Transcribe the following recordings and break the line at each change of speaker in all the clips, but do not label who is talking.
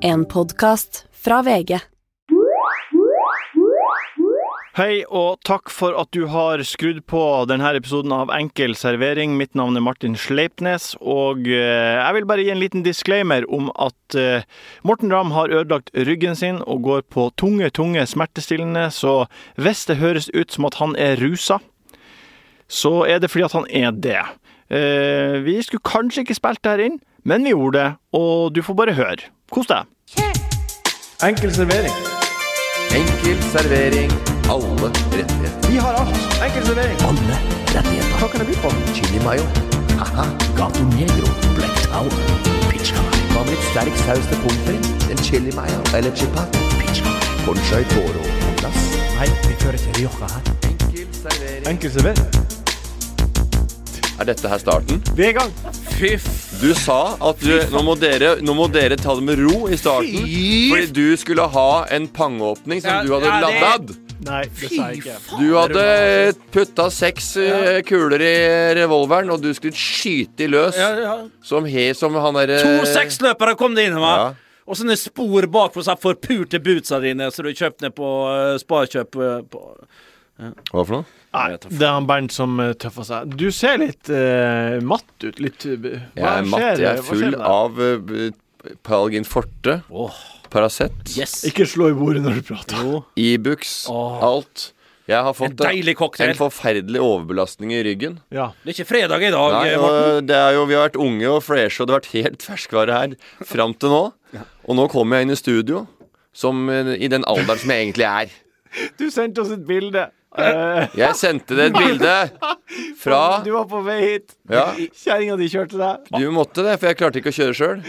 En podkast fra VG.
Hei og takk for at du har skrudd på denne episoden av Enkel servering. Mitt navn er Martin Sleipnes, og eh, jeg vil bare gi en liten disclaimer om at eh, Morten Ramm har ødelagt ryggen sin og går på tunge, tunge smertestillende, så hvis det høres ut som at han er rusa, så er det fordi at han er det. Eh, Vi skulle kanskje ikke spilt det her inn, men vi gjorde det, og du får bare høre. Kos deg. Enkel servering.
Enkel servering. Alle rettigheter.
Vi har alt. Enkel servering.
Alle rettigheter.
Hva kan det by på?
Chili mayo. Haha. Gato negro. Black tower. Pizza. Hva med litt sterk saus til pommes frites? En chili mayo eller chipat? Pizza. Conchai toro på glass.
Nei, vi kjører til Rioja her.
Enkel servering.
Enkel servering.
Er dette her starten?
Vi er i gang.
Fy f- Du sa at du, nå, må dere, nå må dere ta det med ro i starten. Fordi du skulle ha en pangeåpning som du hadde laddad.
Nei, det sa jeg ikke.
Du hadde putta seks eh, kuler i revolveren, og du skulle skyte i løs. Som, he, som han derre
To seksløpere kom det innom her.
Ja.
Og sånne spor bak for sånne forpurte bootsa dine som du kjøpte ned på eh, Sparkjøp. eh, på.
Hva for noe?
Nei, det er han Bernt som eh, tøffer seg. Du ser litt eh, matt ut. Litt eh, b-
Jeg er matt. Jeg er
Hva skjer
full
der?
av eh, b- Palgin Forte, Paracet,
Yes.
Ikke slå i bordet når du prater.
Ibux,
Åh.
alt. Jeg har
En
fått en,
deilig cocktail.
en forferdelig overbelastning i ryggen.
Ja.
Det er ikke fredag i dag,
Nei,
eh, Morten.
og det er jo, Vi har vært unge og freshe, og det har vært helt ferskvare her fram til nå. Og nå kommer jeg inn i studio som, eh, i den alderen som jeg egentlig er.
Du sendte oss et bilde. Eh,
Jeg sendte det et bilde fra
Du var på vei hit.
Ja.
Kjerringa di kjørte deg.
Du måtte det, for jeg klarte ikke å kjøre sjøl.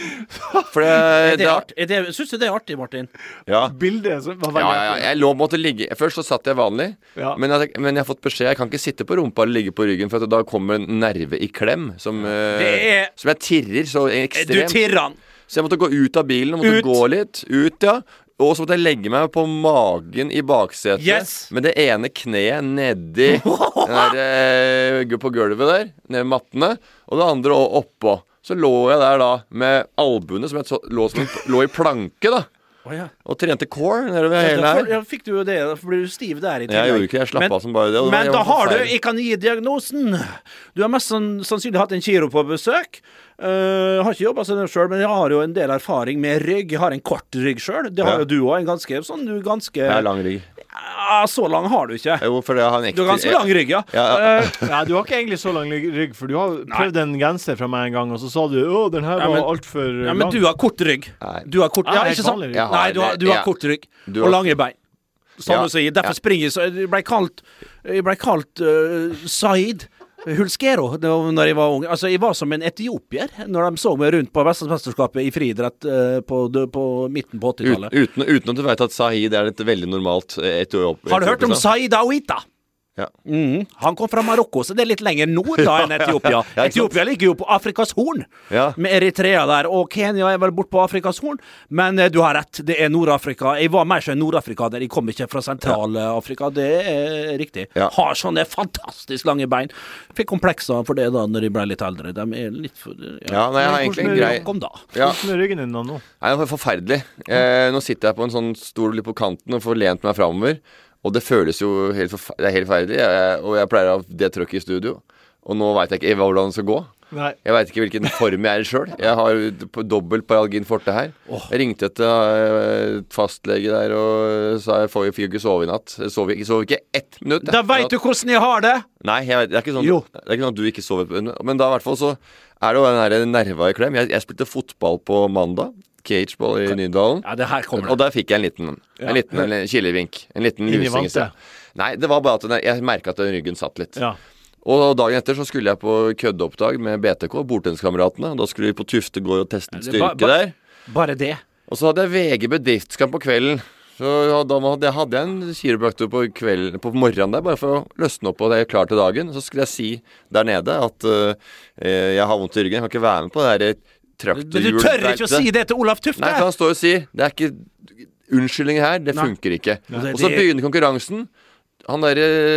For det,
Det er
da-
art- er det- Syns du det er artig, Martin?
ja.
Bildet som var
Ja,
veldig
ja, ja, jeg lå måtte ligge Først så satt jeg vanlig,
Ja.
men, jeg, men jeg har fått beskjed Jeg kan ikke sitte på rumpa eller ligge på ryggen, for at da kommer en nerve i klem som, eh,
Det er-
som jeg tirrer så
Er Du
ekstremt.
tyrann.
Så jeg måtte gå ut av bilen og måtte
Ut.
gå litt. Ut, ja. Og så måtte jeg legge meg på magen i baksetet
Yes.
med det ene kneet nedi den der, eh, på gulvet der, ned ved mattene, og det andre o- oppå. Så lå jeg der da med albuene som jeg så, lå, som, lå i planke, da.
Å, ja.
Og trente core nedover hele
Derfor
her.
ja, fikk du jo det. Derfor ble du stiv der. i tillegg.
Jeg gjorde ikke det, jeg slapp
Men-
av som bare det, og det var-
Men
jeg
da
var
har du
forferdelig.
Jeg kan gi diagnosen. Du har mest sann- sannsynlig hatt en kiro på besøk. Eh, har ikke jobba sånn sjøl, men jeg har jo en del erfaring med rygg. Jeg har en kort rygg sjøl. Det har
Ja.
jo du òg. En ganske sånn du er ganske
Jeg har lang rygg.
Ah, Så lang har du ikke.
Jo, for det har en ekte
Du har ganske lang rygg, ja.
Ja,
Eh,
Ja, du har ikke egentlig så lang rygg, for du har prøvd en genser fra meg en gang, og så sa du å, den her
Ja, men-
var altfor
ja,
lang.
men du har kort rygg.
Nei.
Du har kort
Ja,
Ja,
jeg
ikke
har
sant?
lang rygg.
Jeg har
Nei, du har,
det,
du har
ja.
kort rygg.
Du
Og
har-
lange bein. Som
Ja,
du sier. Derfor
ja.
springer så Jeg ble kalt Jeg ble kalt eh, Said. Hulskero da når jeg var ung. Altså, jeg var som en etiopier når de så meg rundt på Vestlandsmesterskapet i friidrett eh, på, på midten på
Ut,
80-tallet.
uten, uten at du veit at Sahid er et veldig normalt eh, etiop...
Har du hørt om
etiopisk, da?
Said Awita?
Ja.
Mhm. Han kom fra Marokko, så det er litt lenger nord da enn Etiopia.
ja, ikke sant.
Etiopia ligger jo på Afrikas Horn,
Ja.
med Eritrea der. Og Kenya er vel bort på Afrikas Horn, men eh, du har rett, det er Nord-Afrika. Jeg var mer som en nordafrikaner, jeg kom ikke fra Sentral-Afrika, det er riktig.
Ja.
Har sånne fantastisk lange bein. Fikk komplekser for det da når jeg ble litt eldre. De er litt for
Ja, nei, jeg har egentlig en
Hvordan
grei
rakk om da?
ja.
Hvordan er ryggen din da nå?
Nei, det var forferdelig. Eh, nå sitter jeg på en sånn stol litt på kanten og får lent meg framover. Og det føles jo helt, forfer det er helt forferdelig. Jeg, og jeg pleier å ha det trøkket i studio. Og nå veit jeg ikke hva- hvordan det skal gå.
Nei.
Jeg veit ikke hvilken form jeg er i sjøl. Jeg har jo d- på dobbel paralgin forte her. Jeg ringte etter eh, fastlege der og sa jeg får jo- fikk jo ikke sove i natt. Jeg sov, ikke- sov ikke ett minutt. jeg.
Da veit du hvordan jeg har det!
Nei, jeg vet, det, er ikke sånn,
Jo.
det er ikke sånn at du ikke sover på- Men da i hvert fall så er det jo den der nerva i klem. Jeg, jeg spilte fotball på mandag. Cageball i Nydalen.
Ja, det her kommer
Og
det.
der fikk jeg en liten, en liten en kilevink. En liten
Inn i
lusing. i sted.
vantet.
Nei, det var bare at den, jeg merka at den ryggen satt litt.
Ja.
Og dagen etter så skulle jeg på køddeoppdrag med BTK, Bordtenniskameratene. Da skulle vi på Tuftegård og teste litt
det ba-
styrke
ba-
der.
Bare det.
Og så hadde jeg VG bedriftskamp på kvelden. Så ja, da hadde jeg- hadde jeg en kiropraktor på, kvelden, på morgenen der, bare for å løsne opp og det er klar til dagen. Så skulle jeg si der nede at øh, eh, jeg har vondt i ryggen, jeg kan ikke være med på det der
Men Du tør ikke å
traktorhjulbeltet.
si det til Olaf Tufte!
Nei, for han står og sier Det er ikke unnskyldning her, det
Nei.
funker ikke.
Nei.
Og så begynner konkurransen. Han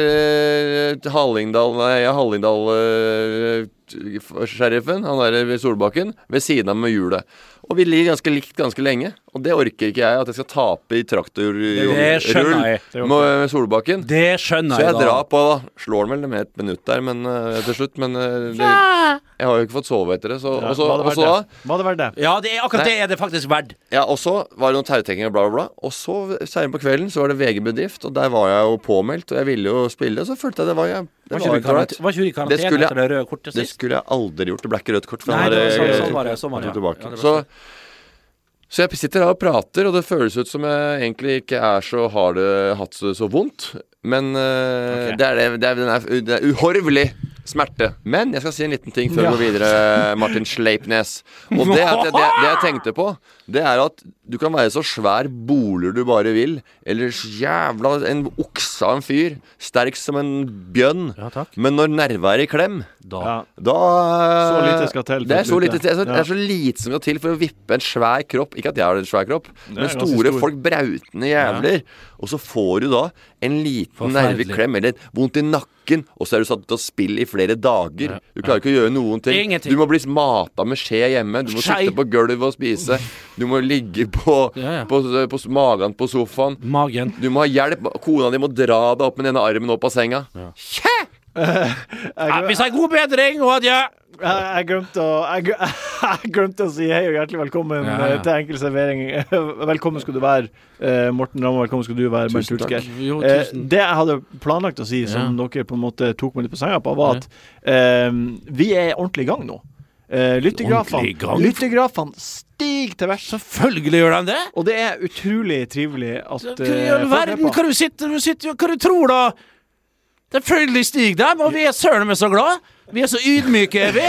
derre eh, Hallingdal eh, Nei, ja, Hallingdal-sheriffen, han derre ved Solbakken, ved siden av med hjulet. Og vi ligger ganske likt ganske lenge. Og det orker ikke jeg, at jeg skal tape i
Det
traktorrull
skjønner jeg.
med, med Solbakken.
Det skjønner
Så
jeg,
jeg drar på, da. Slår den vel med et minutt der men, eh, til slutt, men eh, det, jeg har jo ikke fått sove etter det. Så, og så-
hva hadde
og
vært
så da
det? Hva hadde vært det?
Ja, det er akkurat
Nei.
det er det faktisk verdt.
Ja, og så var det noe tautenging og bla, bla, bla. Og så seinere på kvelden så var det VG Bedrift, og der var jeg jo påmeldt, og jeg ville jo spille, og så følte jeg det var jeg Det,
Var ikke du i
var helt ålreit.
karantene- var ikke du i
Det skulle
karantene
jeg-
etter det røde kortet
det
sist?
skulle jeg aldri gjort. Det ble ikke rødt kort. For
Nei,
han
det
er,
var sånn,
eh,
sånn var det. Sånn var det. Ja,
tok
det
tilbake. Så,
var
så jeg sitter her og prater, og det føles ut som jeg egentlig ikke er så har det hatt så, så vondt. Men eh,
Ok.
det, er det, det, er, den er, det er uhorvelig smerte. Men jeg skal si en liten ting før vi går videre, Martin Sleipnes. Og det, er at jeg- det, det jeg tenkte på, det er at du kan være så svær boler du bare vil, eller så jævla en okse av en fyr, sterk som en bjønn,
Ja, takk.
men når nerva er i klem
Ja.
da eh,
Så lite skal til for
Det
å
er så
slutte.
lite, altså, det er så, det
Ja.
er så lite som skal til for å vippe en svær kropp. Ikke at jeg har en svær kropp, men
ganske
store
stor.
folk, brautende jævler. Og så får du da en liten
Forferdelig.
nerveklem eller et vondt i nakken, og så er du satt ut av spill i flere dager. Du klarer ikke å gjøre noen ting.
Ingenting.
Du må bli mata med skje hjemme. Du må
Skei.
sitte på gulvet og spise. Du må ligge på,
Ja, ja.
på, på, magen på sofaen.
Magen.
Du må ha hjelp. Kona di må dra deg opp med den ene armen opp av senga.
Ja, vi sier god bedring og adjø.
Jeg, jeg, glemte å, jeg, gl- jeg glemte å si hei og hjertelig velkommen
Ja, ja.
eh, til Enkel servering. Velkommen skal du være, eh, Morten Ramm. og Velkommen skal du være, Bernt
Tusen takk.
Hulsker.
Jo,
Eh,
tusen.
det jeg hadde planlagt å si, som dere på en måte tok meg litt på senga på, var at eh, vi er ordentlig i gang nå. Eh, lyttergrafene
Ordentlig i gang?
lyttergrafene stiger til vers.
Følgelig gjør de det.
Og det er utrolig trivelig at
Hva
eh,
i
folk
all
er
verden
på.
hva du sitter du sitter jo- Hva du tror, da? Selvfølgelig stiger de, og vi er søren meg så glad. Vi er så ydmyke, er vi.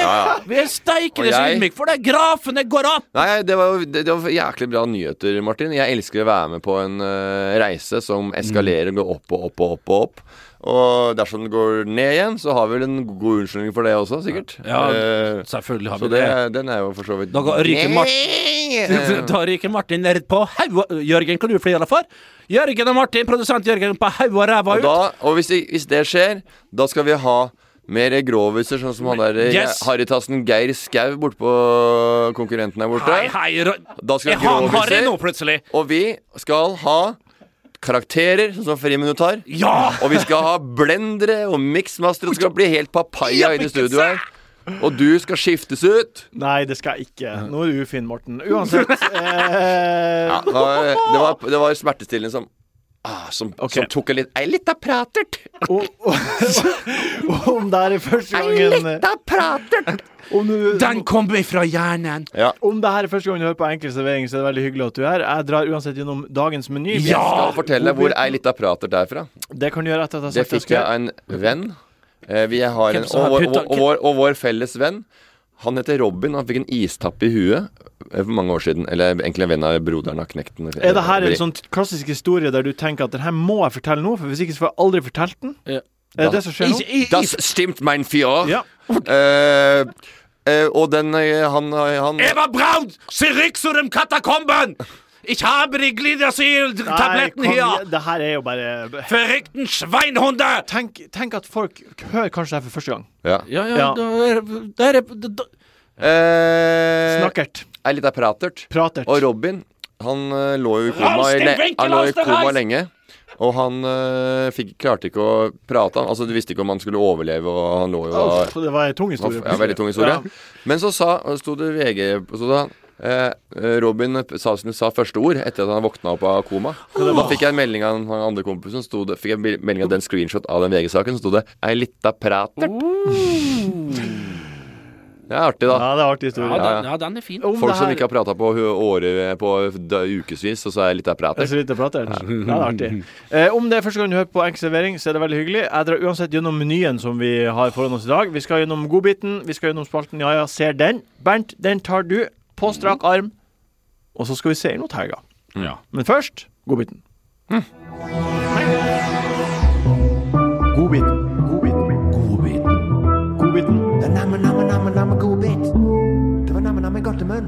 Vi er steikende
Og
så
jeg-
ydmyke, for det er grafene går opp.
Nei, det var, det, det var jæklig bra nyheter, Martin. Jeg elsker å være med på en eh, reise som eskalerer og går opp og opp og opp. Og opp Og dersom den går ned igjen, så har vi vel en god unnskyldning for det også, sikkert.
Ja,
Eh,
Selvfølgelig har
så
vi
det,
det.
den er jo for så vidt
Da går- ryker Mart-
Nei!
Da ryker Martin ned på hauga Jørgen, kan du flire for? Jørgen og Martin, produsent Jørgen, på hauga og ræva
Og,
ut.
da, og hvis, det- hvis det skjer, da skal vi ha mer groviser, sånn som han der eh,
Yes.
Harrytassen Geir Skau bortpå konkurrenten der borte.
Hei, hei, Ro-
Da skal
er
vi ha
han harry nå,
groviser.
plutselig?
Og vi skal ha karakterer, sånn som Friminutt har.
Ja!
Og vi skal ha blendere og miksmaster. og Det skal bli helt papaya inne i studio her. Og du skal skiftes ut.
Nei, det skal jeg ikke. Nå er du ufin, Morten. Uansett. Eh,
Ja, det, var, det, var, det var smertestillende som ah, som,
Ok.
som tok en litt Ei lita pratert!
og, og, om det er første
Ei
gangen
lita pratert!
Om du,
Den kom ifra hjernen.
Ja.
Om det her er første gang du hører på Enkel servering, så er det veldig hyggelig at du er her. Jeg drar uansett gjennom dagens meny.
Jeg skal fortelle deg hvor ei lita pratert er fra.
Det kan du gjøre etter at Altså, jeg
Det
har sagt
fikk jeg av en venn. Eh, Vi har en,
Hvem som har
og, vår,
putta-
og, vår, og vår felles venn. Han heter Robin, og han fikk en istapp i huet eh, for mange år siden. Eller egentlig en venn av broderen av knekten.
Er det her en sånn klassisk historie der du tenker at den her må jeg fortelle nå, for hvis ikke så får jeg aldri fortalt den?
Ja.
Er det det som skjer nå?
I- i- i-
Das stimmt, mein Fjord.
Ja.
Eh, eh, og den eh, han, han
Eva Braun, zurück zu den Katakomben! Ich habe die Glidersyl-Tabletten
Nei, kom
her!
igjen, Det her er jo bare
Verrückten Schweinhunde!
Tenk, tenk at folk hører kanskje det her for første gang.
Ja.
Ja,
Ja.
da er, da er da, da.
Eh,
Snakkert.
er litt av pratert.
Pratert.
Og Robin, han eh, lå jo i koma,
Raus,
i
den
le
vinkel,
han lå i
Raus, den
koma
reis!
lenge. Og han eh, fikk, klarte ikke å prate. Han, altså, du visste ikke om han skulle overleve, og han lå jo og
Uff, det var en tung
Uff,
historie.
ja, veldig tung historie. Men så sa, sto det VG så da, eh, Robin eh, sa, sa første ord etter at han våkna opp av koma. Da fikk jeg en melding av den andre kompisen. Sto det, fikk jeg en bil- melding av den screenshot av den VG-saken. Så sto det 'ei lita prater'. Det er artig, da.
Ja, det er artig historie.
Ja,
ja.
den, ja, den er fin.
Om
Folk
det
som
her-
ikke har prata på hu- åre, på da- ukevis, og så er 'lita
Det er
prater'.
så vidt jeg prater. Ja, det er artig. Eh, om det er første gang du hører på Enkel servering, så er det veldig hyggelig. Jeg drar uansett gjennom menyen som vi har foran oss i dag. Vi skal gjennom godbiten, vi skal gjennom spalten Ja ja, ser den. Bernt, den tar du på strak arm. Og så skal vi se inn mot helga.
Ja.
Men først godbiten.
Godbit. Godbit. Godbit.
Godbiten.
Det er namme, namme, namme, namme godbit. Det var namme, namme godtemunn.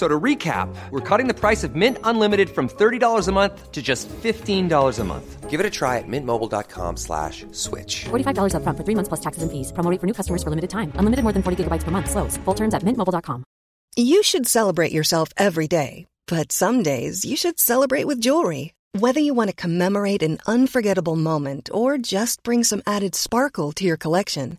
So to recap, we're cutting the price of Mint Unlimited from $30 a month to just $15 a month.
Give it a try at mintmobile.com slash switch.
$45 upfront for three months plus taxes and fees. Promote for new customers for limited time. Unlimited more than 40 gigabytes per month. Slows. Full terms at mintmobile.com.
You should celebrate yourself every day, but some days you should celebrate with jewelry. Whether you want to commemorate an unforgettable moment or just bring some added sparkle to your collection,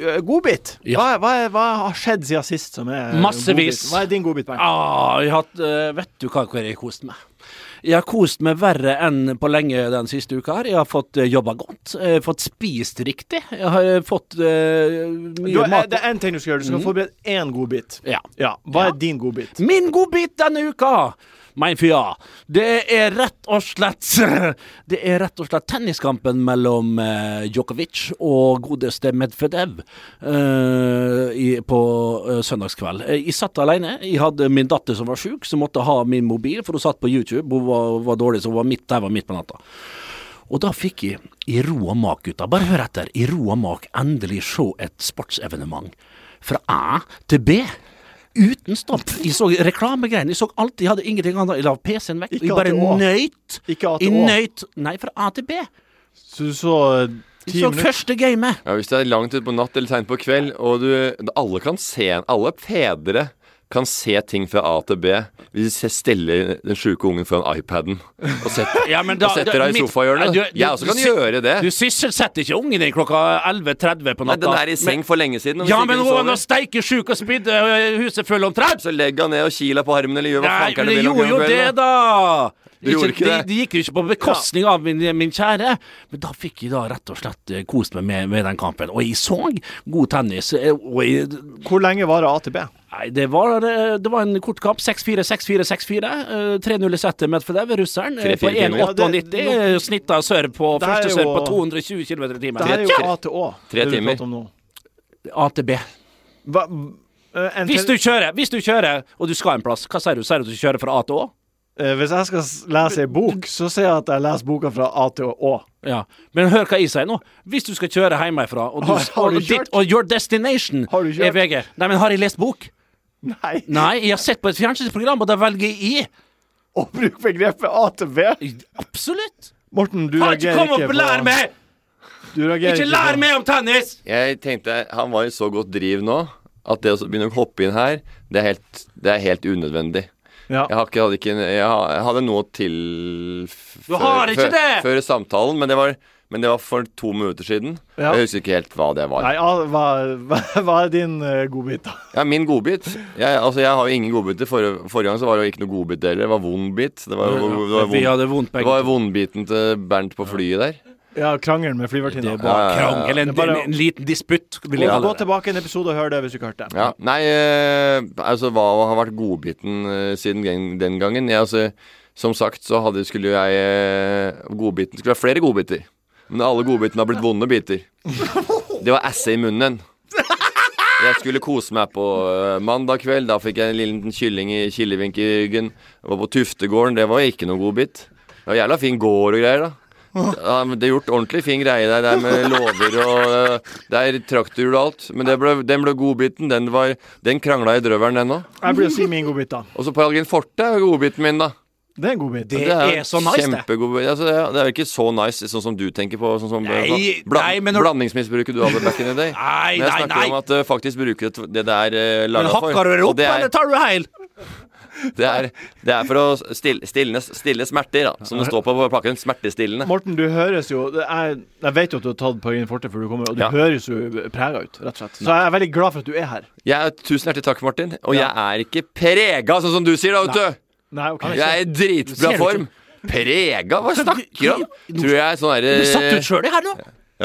Eh, Godbit.
Ja.
Hva, hva, er- hva har skjedd siden sist som er
Massevis.
godbit? Hva er din godbit, Bernt?
Ah, jeg har hatt, eh, vet du hva hvor jeg har kost meg? Jeg har kost meg verre enn på lenge den siste uka her. Jeg har fått eh, jobba godt, jeg har fått spist riktig. Jeg har eh, fått eh,
Du,
mye
eh,
mat. Mm.
det er én ting du skal gjøre. Du skal forberede én godbit.
Ja.
Ja. Hva
Ja.
er din godbit?
Min godbit denne uka, mein Fia, det er rett og slett Det er rett og slett tenniskampen mellom eh, Djokovic og godeste Medvedev eh, i, på eh, søndagskveld. Eh, Jeg satt alene. Jeg hadde min datter som var sjuk, som måtte ha min mobil, for hun satt på YouTube. Hun var, var dårlig, så hun var midt der var midt på natta. Og da fikk jeg i ro og mak, gutta, bare hør etter, i ro og mak endelig se et sportsevenement. Fra A til B. Uten stopp. Jeg så reklamegreiene. Jeg så alt. Jeg hadde ingenting annet. Jeg la PC-en vekk.
Ikke
Jeg bare
A til Å.
nøyt.
Ikke A til
Jeg
Å.
nøyt. Nei, fra A til B.
Så du så eh,
Jeg
ti
så
minutter
første gamet.
Ja, Hvis det er langt utpå natt eller seint på kveld, og du, alle kan se Alle fedre kan se ting fra A til B hvis de steller den sjuke ungen foran iPaden og setter, og setter deg i
Nei,
sofahjørnet.
du- du-
Jeg også
du
kan
sy-
gjøre det.
Du sysselsetter ikke ungen din klokka 11.30 på
Nei,
natta.
den er i seng for lenge siden. og hvis
Ja,
ikke
men
du
hun
sover,
var steike sjuk og spydde øh, huset full omtrent.
Så legg han ned og kil deg på armen, eller gjør hva
Nei,
fankeren
men det
vil. om
gjorde jo
kvelden,
det,
da.
da!
Du gjorde ikke
det
det.
de gikk jo ikke på bekostning av min, eh, min kjære. Men da fikk jeg da rett og slett eh, kost meg med, med den kampen. Og jeg så god tennis. eh, Og jeg,
Hvor lenge varer A til B?
nei, det var, eh, det var en kort kamp. 6-4, 6-4, 6-4. eh, 3-0 i settet Medvedev, russeren. eh, På
3-4 timer.
Ja,
1,98.
det-
eh, Snitta serve på
Det her er
første serve
jo-
på 220 km i
Det her er
timen.
jo A til Å.
Tre
det du
timer.
prater om nå.
AtB.
Hva, eh, en
Hvis
til-
du kjører, hvis du kjører, og du skal en plass, hva sier du? Sier du at du kjører fra A til Å?
eh, hvis jeg skal s- lese ei bok, så sier jeg at jeg leser boka fra A til Å.
Ja, Men hør hva jeg sier nå. Hvis du skal kjøre hjemmefra, og, du,
Har- har du
og, ditt,
kjørt?
og your destination
Har du kjørt?
er VG Nei, men har jeg lest bok?
Nei.
Nei, jeg har sett på et fjernsynsprogram, og da velger jeg I.
Å bruke begrepet A til B.
Absolutt.
Morten, du
Kan ikke
reagerer
komme
ikke
opp og
på
lære meg!
Du reagerer
Ikke
på-
lær meg om tennis!
Jeg tenkte, han var i så godt driv nå, at det å så begynne å hoppe inn her, det er helt, det er helt unødvendig.
Ja.
Jeg, har ikke, hadde ikke, jeg har- jeg hadde noe til f-
Du har ikke
før,
det!
før samtalen, men det, var, men det var for to minutter siden.
Ja.
Jeg husker ikke helt hva det var.
Nei, A, hva, hva, hva er din eh, godbit, da?
Ja, min godbit jeg, altså, jeg har jo ingen godbiter. Forrige, forrige gang så var det jo ikke noe godbit heller. Det var vondbit. Det var, jo- det var,
Vi
vond,
hadde vondt
det
begge
var
to.
vondbiten til Bernt på flyet der.
Ja, Krangelen med
Det
flyvertinna.
var
Ja, ja, ja.
krangel, en,
Det er bare-
en, en liten disputt, vil jeg
Gå, gå
kalle det.
tilbake en episode og hør det hvis du ikke har hørt det.
Ja, Nei, eh, altså hva har vært godbiten eh, siden gang- den gangen? Jeg, altså, som sagt så hadde, skulle jo jeg eh, Godbiten skulle være flere godbiter. Men alle godbitene har blitt vonde biter. Det var esse i munnen. Jeg skulle kose meg på eh, mandag kveld. Da fikk jeg en liten kylling i kilevink i ryggen. Jeg var på Tuftegården. Det var ikke noe godbit. Det var jævla fin gård og greier, da. Ja, men Det er gjort ordentlig fin greie der, der med låver og eh, Det er traktorhjul og alt. Men det ble, den ble godbiten. Den, var- den krangla i drøvelen, den òg.
Jeg blir å si min godbit, da.
Og så på Algen Forte er jo godbiten min, da.
Det er en godbit.
Det
jo
er så nice, det.
kjempegod altså, det er- Det er jo ikke så nice sånn som du tenker på. Sånn som,
Nei,
sånn,
nei, men når-
Blandingsmisbruket du hadde back in the day.
Nei,
men jeg
nei,
snakker
nei.
om at uh, faktisk bruker det det det er uh,
Men
laga for.
hakker du det
Og
opp,
det er,
eller tar du heil?
det er, det er for å stille, stille, stille smerter, da. Som det står på pakken. Smertestillende.
Morten, du høres jo det er, Jeg vet jo at du har tatt Pargin Forte før du kommer, og du
Ja.
høres jo prega ut, rett og slett. Så jeg er veldig glad for at du er her.
Jeg, tusen hjertelig takk, Martin. Og jeg er ikke prega, sånn som du sier, da, vet du.
Nei, ok
Jeg er i dritbra
Ser du
form. Prega? Hva snakker du om? Tror jeg sånn
Du satt ut
derre
sjøl i her nå!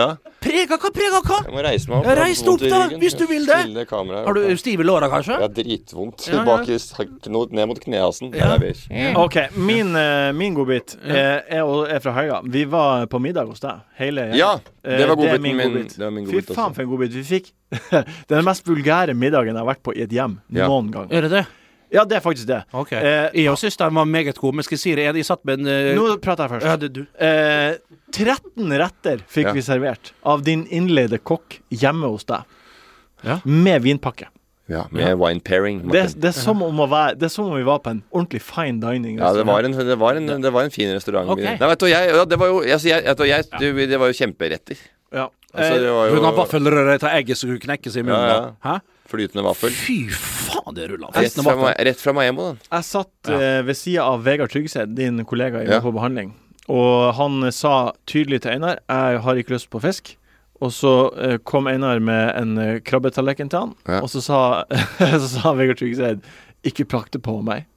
ja.
Prega hva, prega hva?
Jeg må reise meg opp.
Ja, reis deg opp, da, hvis du vil det.
Stille kameraet.
Har du stive låra, kanskje?
Det er dritvondt.
Ja, ja.
Bak i sak- nå- ned mot knehasen. Ja. Der er vi.
OK, min, eh, min godbit eh, er, er fra helga. Vi var på middag hos deg, hele gjengen.
Ja, det
Eh,
var godbiten
min
min.
godbit.
Det var min
Fy
godbit også.
faen, for en godbit vi fikk. det er den mest vulgære middagen jeg har vært på i et hjem
Ja.
noen gang.
Gjør det det?
Ja, det er faktisk det.
Ok.
Eh,
jeg syns den var meget god, men skal jeg si det igjen? Jeg satt med en eh,
Nå prater jeg først.
Ja, det er du.
Eh, 13 retter fikk
Ja.
vi servert av din innleide kokk hjemme hos deg.
Ja.
Med vinpakke.
Ja, med wine pairing.
Det,
Martin.
det, er som om å være, det er som om vi var på en ordentlig fine dining.
Ja, det var en, det var en, det var en fin restaurant.
Ok.
Nei, vet du, jeg, ja, det var jo, jeg, jeg, vet du, jeg, du, det var jo kjemperetter.
Ja. Eh,
Altså, det var jo
Hun har vaffelrøre til egget som kunne knekkes i munnen.
Ja, ja.
da. Hæ?
flytende vaffel.
Fy faen, det ruller.
Rett
Festen
fra,
var
Ma- rett fra Maemmo, den.
Jeg satt eh, ved sida av Vegard Tryggeseid, din kollega i
Ja.
på behandling, og han sa tydelig til Einar jeg har ikke lyst på fisk. Og så eh, kom Einar med en eh, krabbetallerken til han,
Ja.
og så sa, så sa Vegard Tryggeseid ikke prakt det på meg.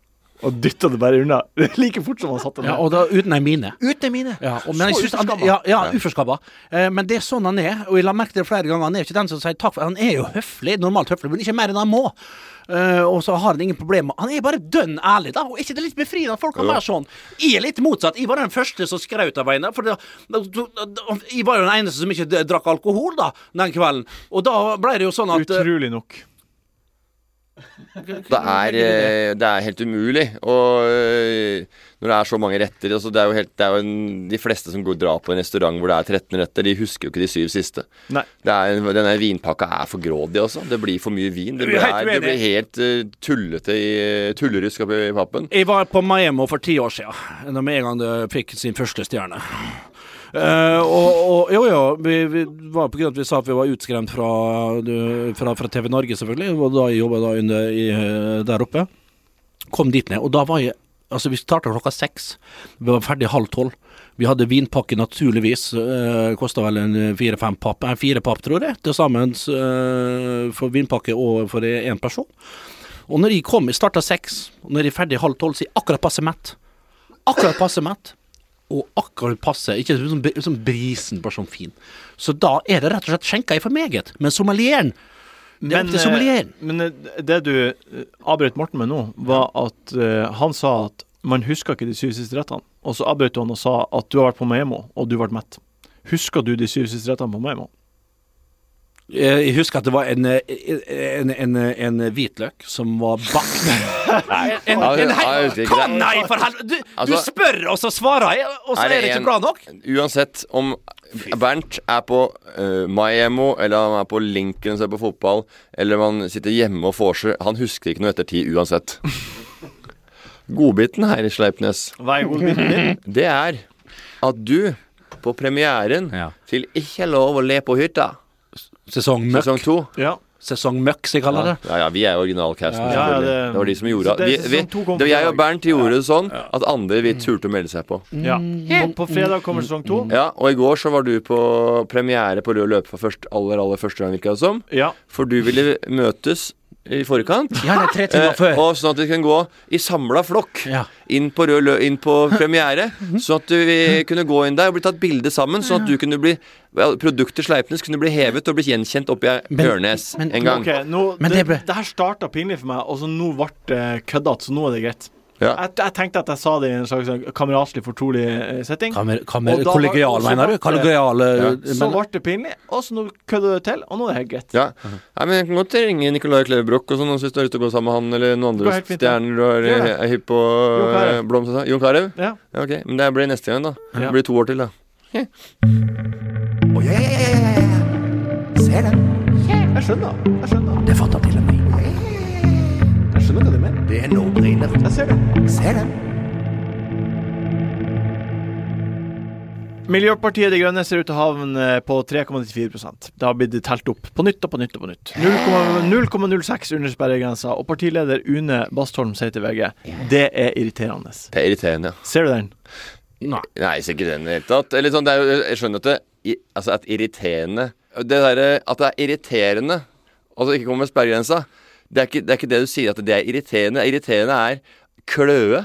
Og dytta det bare unna like fort som han satte det
Ja, og da uten ei mine.
Uten mine!
Ja, og, men jeg synes han, ja, ja, uforskabba. Eh, men det er sånn han er, og jeg la merke til det flere ganger. Han er ikke den som sier takk for Han er jo høflig, normalt høflig, men ikke mer enn han må. Eh, og så har han ingen problemer. Han er bare dønn ærlig, da. Og er ikke det litt befriende at folk kan være sånn? Jeg er litt motsatt. Jeg var den første som skraut av veien. For det, jeg var jo den eneste som ikke d- drakk alkohol da den kvelden. Og da ble det jo sånn at eh,
Utrolig nok.
Det er, eh, det er helt umulig. Og eh, når det er så mange retter altså, det, er jo helt, det er jo en, De fleste som går drar på en restaurant hvor det er 13 retter, de husker jo ikke de syv siste.
Nei.
Det er, denne vinpakka er for grådig, altså. Det blir for mye vin. Det
Vi er helt
blir, er, det blir
uenige.
helt eh, tullete i, tullerusk oppi i pappen.
Jeg var på Miami for ti år siden, da med en gang det fikk sin første stjerne. Eh, og, og jo, jo, vi, vi var på grunn av at vi sa at vi var utskremt fra, du- fra, fra TV Norge, selvfølgelig. Og da jeg jobba da under, i, eh, der oppe. Kom dit ned, og da var jeg Altså, vi starta klokka seks. Vi var ferdig halv tolv. Vi hadde vinpakke, naturligvis. Eh, Kosta vel en eh, fire-fem papp, eh, fire papp, tror jeg, til sammen eh, for vinpakke og for én person. Og når jeg kom, jeg starta seks, og når jeg er ferdig halv tolv, så er jeg akkurat passe mett. Akkurat passe mett. Og akkurat passe, ikke sånn, sånn brisen, bare sånn fin. Så da er det rett og slett skjenka i for meget. Men sommelieren Det er opp til
eh,
sommelieren.
men eh, det du eh, avbrøt Morten med nå, var at eh, han sa at man husker ikke de syv siste rettene. Og så avbrøt du han og sa at du har vært på Maemmo, og du ble mett. Husker du de syv siste rettene på Maemmo?
eh, Jeg husker at det var en, eh, en, en, en hvitløk som var bakt En,
Ja,
en,
ja,
hel-
det er
Hva?
greit.
Nei, for helvete! Du, du
Altså-
spør, og så svarer jeg, og så
Er
er
det
det
en-
ikke bra nok?
Uansett om Bernt er på uh, Miami, eller han er på Lincoln og ser på fotball, eller man sitter hjemme og får seg Han husker ikke noe etter ti uansett. Godbiten her i Sleipnes,
Hva er godbiten din?
det er at du på premieren
Ja.
til Ikke lov å le på hytta,
Sesongmøkk,
sesong to
Ja.
sesongmøkk, som jeg kaller det.
ja, ja, vi er
Ja,
originalcasten,
ja,
selvfølgelig.
det-
det, var de som gjorde
Så det er
vi, vi,
sesong to kom
det.
på
var Jeg og
fredag.
Bernt gjorde det sånn at andre
Mm.
vi turte å melde seg på.
ja. På, på fredag kommer sesong to.
Ja, Og i går så var du på premiere på rød løper for først, aller, aller første gang, virka det som.
Ja.
For du ville møtes i forkant.
Ja, det er tre
Eh,
timer før.
og sånn at vi kunne gå i samla flokk
Ja.
inn, på rød lø inn på premiere. Sånn at vi kunne gå inn der og bli tatt bilde sammen. Sånn at du kunne bli vel, Produktet Sleipnes kunne bli hevet og bli gjenkjent oppi Ørnes
men-
en gang.
Ok, nå,
Men
det,
det ble-
det her starta pinlig for meg, og så nå ble det køddete, så nå er det greit.
Ja.
Jeg, jeg tenkte at jeg sa det i en slags sånn kameratslig, fortrolig eh, setting.
Kamer, kamer,
Og da- og
kollegial,
så
mener du?
ble-
Kollegial eh,
Så
men-
ble det pinlig, og så nå kødder det til, og nå er det helt greit.
Ja.
Uh-huh.
Nei, men Jeg kan godt ringe Nicolai Klevebrok og sånn om du har lyst til å gå sammen med han eller
går
noen andre
helt fint, ja.
stjerner du har,
Gjør det.
er hypp på.
Jon Carew.
eh, Blom, sa du? Jon Carew?
Ja.
Ja, ok. Men det blir neste gang, da.
Ja.
Det blir to år til, da.
Å, ja, ja, ja, ja, ja, ja. Ser den.
Jeg skjønner. Jeg skjønner.
Det fant han til og med.
Jeg skjønner hva du mener.
Det er en no-brainer.
Jeg ser det.
Ser den.
Miljøpartiet De Grønne ser ut til å havne på 3,94 Det har blitt telt opp på nytt og på nytt og på nytt. 0,06 under sperregrensa, og partileder Une Bastholm sier til VG det er irriterende.
Det er irriterende. ja.
Ser du den?
Nei, sikkert den i det hele tatt. Eller sånn, det er jo, jeg skjønner at det i- Altså at irriterende Det derre at det er irriterende Altså ikke komme med sperregrensa. Det er, ikke, det er ikke det du sier at det er irriterende. Irriterende er kløe.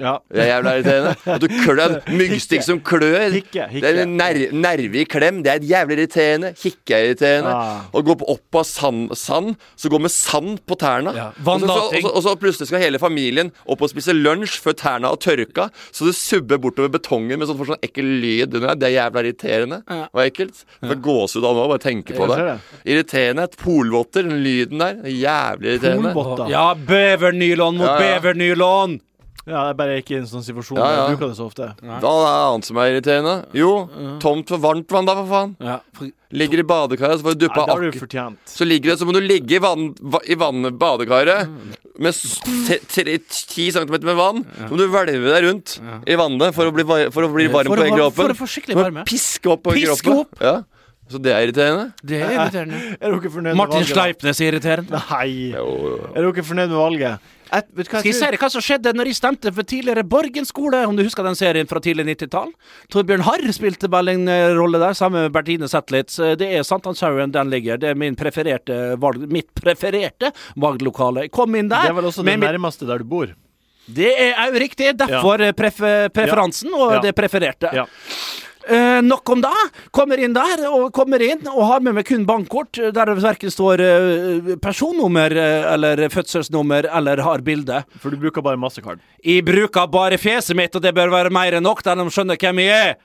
Ja.
Det er jævla irriterende. At du klør en myggstikk som klør.
Hikke, hikke.
Det er en ner nerve i klem. Det er jævlig irriterende. Hikke er irriterende.
Ah.
Å gå på- opp av sand, sand så gå med sand på tærne.
Ja,
Og så- så- og,
vannlating.
så- og så plutselig skal hele familien opp og spise lunsj før tærne har tørka. Så du subber bortover betongen med sånn, får sånn ekkel lyd under deg. Det er jævla irriterende og ekkelt. Jeg får gåsehud av nå, bare tenke på
Jeg ser
det. Irriterende. Polvotter, den lyden der. det er Jævlig irriterende.
Polvotter.
Ja, bevernylon mot
Ja, ja.
bevernylon!
Ja, det er bare ikke i en sånn situasjon
Ja,
der
ja.
jeg bruker det så ofte.
Hva er det annet som er irriterende? Jo, tomt for varmt vann, da, for faen.
Ja. for-
Ligger i badekaret, så får
Nei,
du duppa
det har du
akk-
fortjent.
Så ligger det, så må du ligge i, vann, va- i vannet, badekaret
Mm.
med s- te- tre- ti centimeter med vann. Så må du hvelve deg rundt i vannet for å bli, var- for å bli varm
For
på
å
hele
ha- for
kroppen.
å få skikkelig
Du må
varme.
Piske opp på
Piske
kroppen.
opp!
Ja. Så det er irriterende.
Det er irriterende.
Er dere fornøyd
Martin
med valget?
Sleipnes er irriterende.
Nei.
Jo, jo.
Er dere fornøyd med valget? Jeg, vet du hva
Skal jeg si deg hva som skjedde når jeg stemte for tidligere Borgen skole? Om du husker den serien fra tidlig 90-tall? Torbjørn Harr spilte vel en eh, rolle der, sammen med Bertine Zetlitz. Eh, Det er Sankthanshaugen den ligger. Det er min prefererte valg, mitt prefererte valglokale. Jeg kom inn
Det
der
er vel også det
med mitt-
nærmeste der du bor.
Det er òg riktig. Derfor eh, pref preferansen og
Ja.
det prefererte.
Ja.
Eh, nok om det. Kommer inn der og kommer inn og har med meg kun bankkort eh, der det verken står eh, personnummer eh, eller fødselsnummer eller har bilde.
For du bruker bare mastercard.
Jeg bruker bare fjeset mitt, og det bør være mer enn nok der de skjønner hvem jeg er.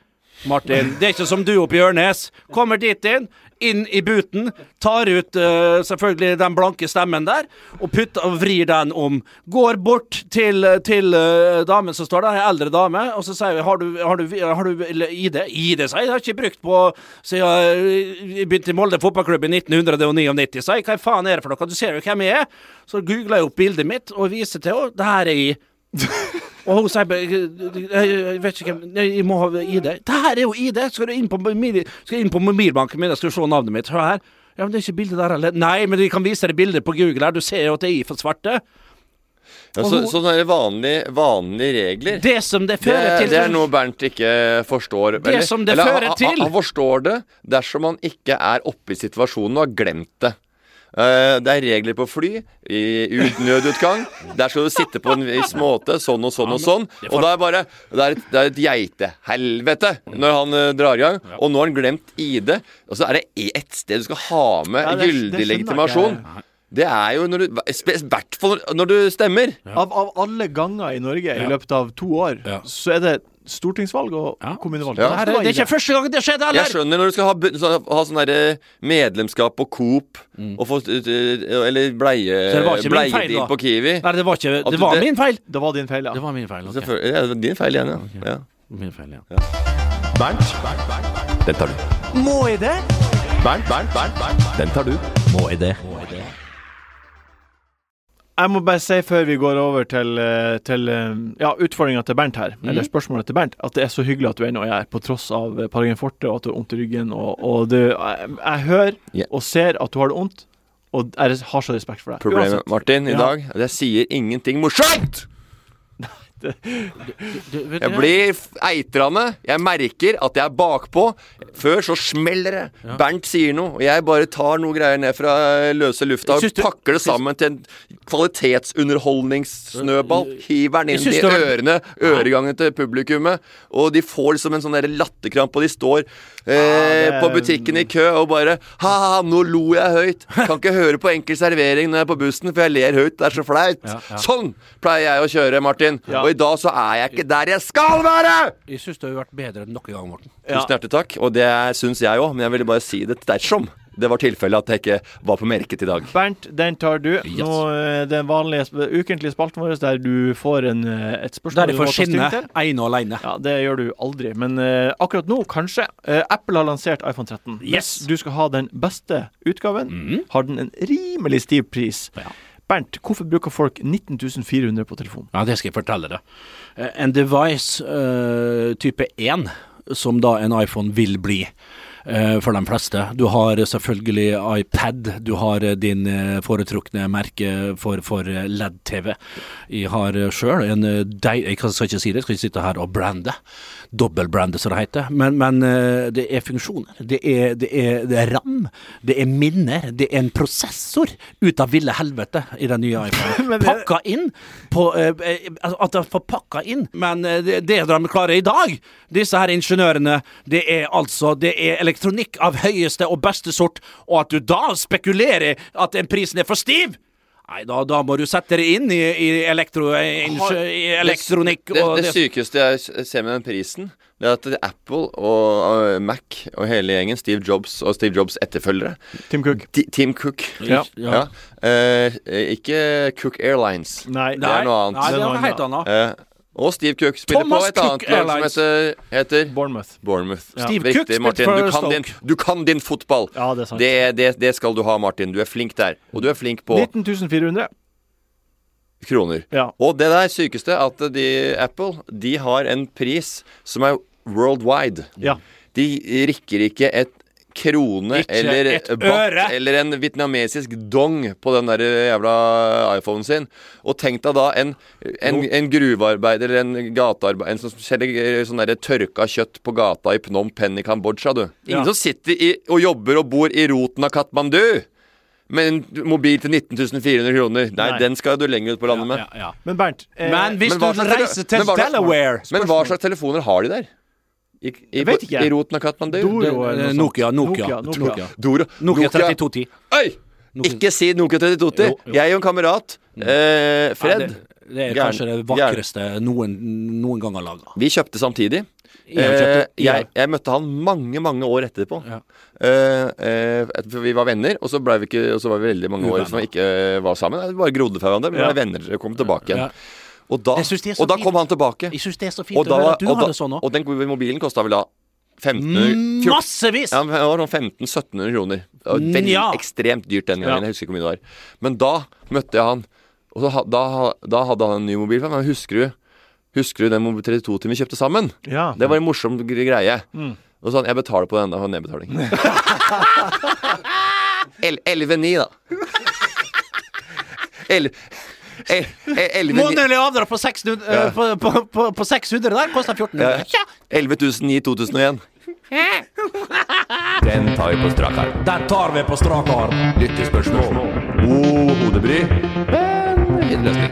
Martin, det er ikke som du oppe i Ørnes. Kommer dit inn, inn i buten, tar ut eh, selvfølgelig den blanke stemmen der, og putter og vrir den om. Går bort til, til eh, damen som står der, ei eldre dame, og så sier vi har du, har du, har du eller ID? ID, sier jeg, det har jeg ikke brukt på siden jeg begynte i Molde fotballklubb i 1999, sier jeg. Hva faen er det for noe? Du ser jo hvem jeg er. Så googler jeg opp bildet mitt og viser til henne. Det her er jeg. Og hun sier bare, jeg, jeg jeg vet ikke hvem Jeg jeg må ha ID. Det her er jo ID! Skal du inn på, mobil, skal jeg inn på mobilbanken min og skal du se navnet mitt? Hør her. Ja, men Det er ikke bildet der heller. Nei, men vi kan vise deg bildet på Google. her Du ser jo at det er i for svarte.
Ja, så, så sånne vanlige, vanlige regler
Det som det
det,
fører til
det er noe Bernt ikke forstår.
Det som det
han-
fører
han-
til.
Han, han forstår det dersom han ikke er oppe i situasjonen og har glemt det. Eh, det er regler på fly, i ut- nødutgang. Der skal du sitte på en viss måte, sånn og sånn og sånn. Og det er bare Det er et, det er et geitehelvete når han eh, drar i gang. Og nå har han glemt ID. Og så er det ett sted du skal ha med
Ja, det- det skjønner
gyldig
jeg ikke.
legitimasjon. Det er jo når du I hvert fall når du stemmer.
Av, av alle ganger i Norge i løpet av to år,
Ja.
så er det stortingsvalg og kommunevalg.
Ja.
Det, her, er- det er ikke første gang det skjedde,
Jeg
eller?
skjønner når du skal ha, bu- sånn- ha sånn derre medlemskap på Coop og få eh, Eller bleie,
Mm. Så det var ikke min feil,
bleiedeal
da?
på Kiwi.
Nei, det var ikke
At
Det var
det-
min feil.
Det var din feil, ja.
Det var min feil. ok.
Selvfølgelig. Ja, det var din feil igjen, ja. ja.
Min feil, ja.
Bernt, den tar du.
Må jeg det?
Bernt, Bernt, Bernt, Bernt, den tar du. Må jeg det?
Jeg må bare si før vi går over til, eh, til eh, ja, utfordringa til Bernt her,
Mm.
eller spørsmålet til Bernt, at det er så hyggelig at du ennå er her, på tross av eh, paragraf forte og at du har vondt i ryggen. Og, og du, jeg, jeg hører
Ja.
og ser at du har det vondt, og jeg res- har så respekt for deg.
Problemet,
Uansett.
Martin, i
Ja.
dag er at jeg sier ingenting morsomt!
Du, vet du
Jeg
det?
blir f- eitrende. Jeg merker at jeg er bakpå. Før så smeller det. Bernt sier noe, og jeg bare tar noe greier ned fra eh, løse lufta og
Syns du-
pakker det sammen til en kvalitetsunderholdningssnøball. Hiver den
Jeg
inn
syns
i
det var-
ørene, øregangen til publikummet, og de får liksom en sånn der latterkrampe, og de står eh,
det er-
på butikken i kø og bare Ha-ha, nå lo jeg høyt. Kan ikke høre på enkel servering når jeg er på bussen, for jeg ler høyt. Det er så flaut. Sånn pleier jeg å kjøre, Martin.
Ja.
Og i dag så er jeg ikke der jeg skal være!
Jeg syns du har vært bedre enn noen gang, Morten.
Ja.
Tusen hjertelig takk, og det syns jeg òg, men jeg ville bare si det dersom det var tilfellet at jeg ikke var på merket i dag.
Bernt, den tar du. Nå eh, Den vanlige sp- ukentlige spalten vår der du får en, eh, et spørsmål
Der de
du må
får
ta stilling
skinne
til.
ene og alene.
Ja, Det gjør du aldri, men eh, akkurat nå, kanskje. Eh, Apple har lansert iPhone 13.
Yes. Mhm.
Du skal ha den beste utgaven. Har den en rimelig stiv pris.
Ja.
Bernt, hvorfor bruker folk 19 400 på telefon?
Ja, det skal jeg fortelle deg. Eh, En device eh, type 1, som da en iPhone vil bli. eh, for de fleste. Du har selvfølgelig iPad, du har eh, din eh, foretrukne merke for, for eh, LED-TV. Jeg har sjøl en eh, deil... Jeg kan- skal ikke si det, jeg skal ikke sitte her og brande. Dobbeltbrande, som det heter. Men, men eh, det er funksjoner. Det er, det, er, det er ram. Det er minner. Det er en prosessor ut av ville helvete i den nye iPhonen.
Men det-
Pakka inn på eh, eh, altså At de får pakka inn. Men eh, det, det de klarer i dag, disse her ingeniørene, det er altså Det er elektronikk av høyeste og beste sort, og at du da spekulerer at den prisen er for stiv! Nei, da, da må du sette det inn i, i, elektro, i, i elektronikk
Det,
og
det sykeste jeg s- ser med den prisen, det er at Apple og øh, Mac og hele gjengen, Steve Jobs og Steve Jobs' etterfølgere
Tim Cook.
Ti- Team Cook.
Ja.
Ja. Eh, ikke Cook Airlines.
Nei.
Det er noe annet.
Nei, det
Det
er
er
noe helt annet.
Eh, og Steve Cook spiller
Thomas
på et annet
Cook
lag som
Airlines.
heter, heter
Bournemouth.
Bournemouth.
Steve
Riktig,
Cook spilte
Martin.
for
Du kan,
Stoke.
din, du kan din fotball.
Ja, det er sant.
Det, det, det skal du ha, Martin. Du er flink der. Og du er flink på
19 400.
kroner.
Ja.
Og det der sykeste at de, Apple de har en pris som er worldwide.
Ja.
De rikker ikke et krone
Ikke
eller
et
baht
øre.
eller en vietnamesisk dong på den der jævla iPhonen sin. Og tenk deg da en, en, en gruvearbeider eller en gatearbeider En som selger sånn der tørka kjøtt på gata i Phnom Penh i Kambodsja, du. Ingen
Ja.
som sitter i, og jobber og bor i roten av Katmandu! Med en mobil til 19 400 kroner. Nei,
Nei.
den skal du lenger ut på landet med.
Ja, ja.
Men Bernt eh,
Men hvis
Men hva
du
slags tele-
reiser til
men hva slags-
Delaware
Men hva slags telefoner har de der? I, i,
Jeg vet ikke.
I roten av Katmandu?
Doro
Eh,
eller noe sånt.
Nokia, Nokia,
Nokia,
Nokia.
Nokia.
Doro.
Nokia 3210.
Øy! Ikke si Nokia 3210.
Jo, jo.
Jeg og en kamerat, eh, Fred
Ja, det, det er
Gæren-
kanskje det vakreste noen, noen gang har laga.
Vi kjøpte samtidig.
Jeg kjøpte-
Eh, jeg, jeg møtte han mange, mange år etterpå.
Ja.
Eh, eh, for vi var venner, og så, ble vi ikke, og så var vi veldig mange år
Uvenner.
som vi ikke eh, var sammen. Vi bare grodde for hverandre, men
Ja.
ble venner og kom tilbake
Ja.
igjen. Og, da,
Jeg synes det er så
og da
fint.
kom han tilbake.
Jeg syns det er så fint
Og, da,
å høre
var-
at du
og,
har
da,
det sånn òg.
og den mobilen kosta vel da 1500 14
Massevis!
Ja, men det var sånn 1500-1700 kroner. Det var veldig
Ja.
ekstremt dyrt den gangen.
Mm, Ja.
Jeg husker ikke hvor mye det var. Men da møtte jeg han, og så, ha- da, da hadde han en ny mobil. Men husker du, husker du den 32-timen vi kjøpte sammen?
Ja. Mm.
Det var en morsom gre- greie. Og så sa han jeg betaler på den, da har han nedbetaling. El- 11,9, da. El- el- el- 11,9
Månedlig avdrag på 600, eh, på, på, på, på 600 der koster 1400. Ja.
11.009 2001. Den tar vi på strak arm.
Den tar vi på strak arm.
Lyttespørsmål. God Oh, hodebry. Men fin løsning.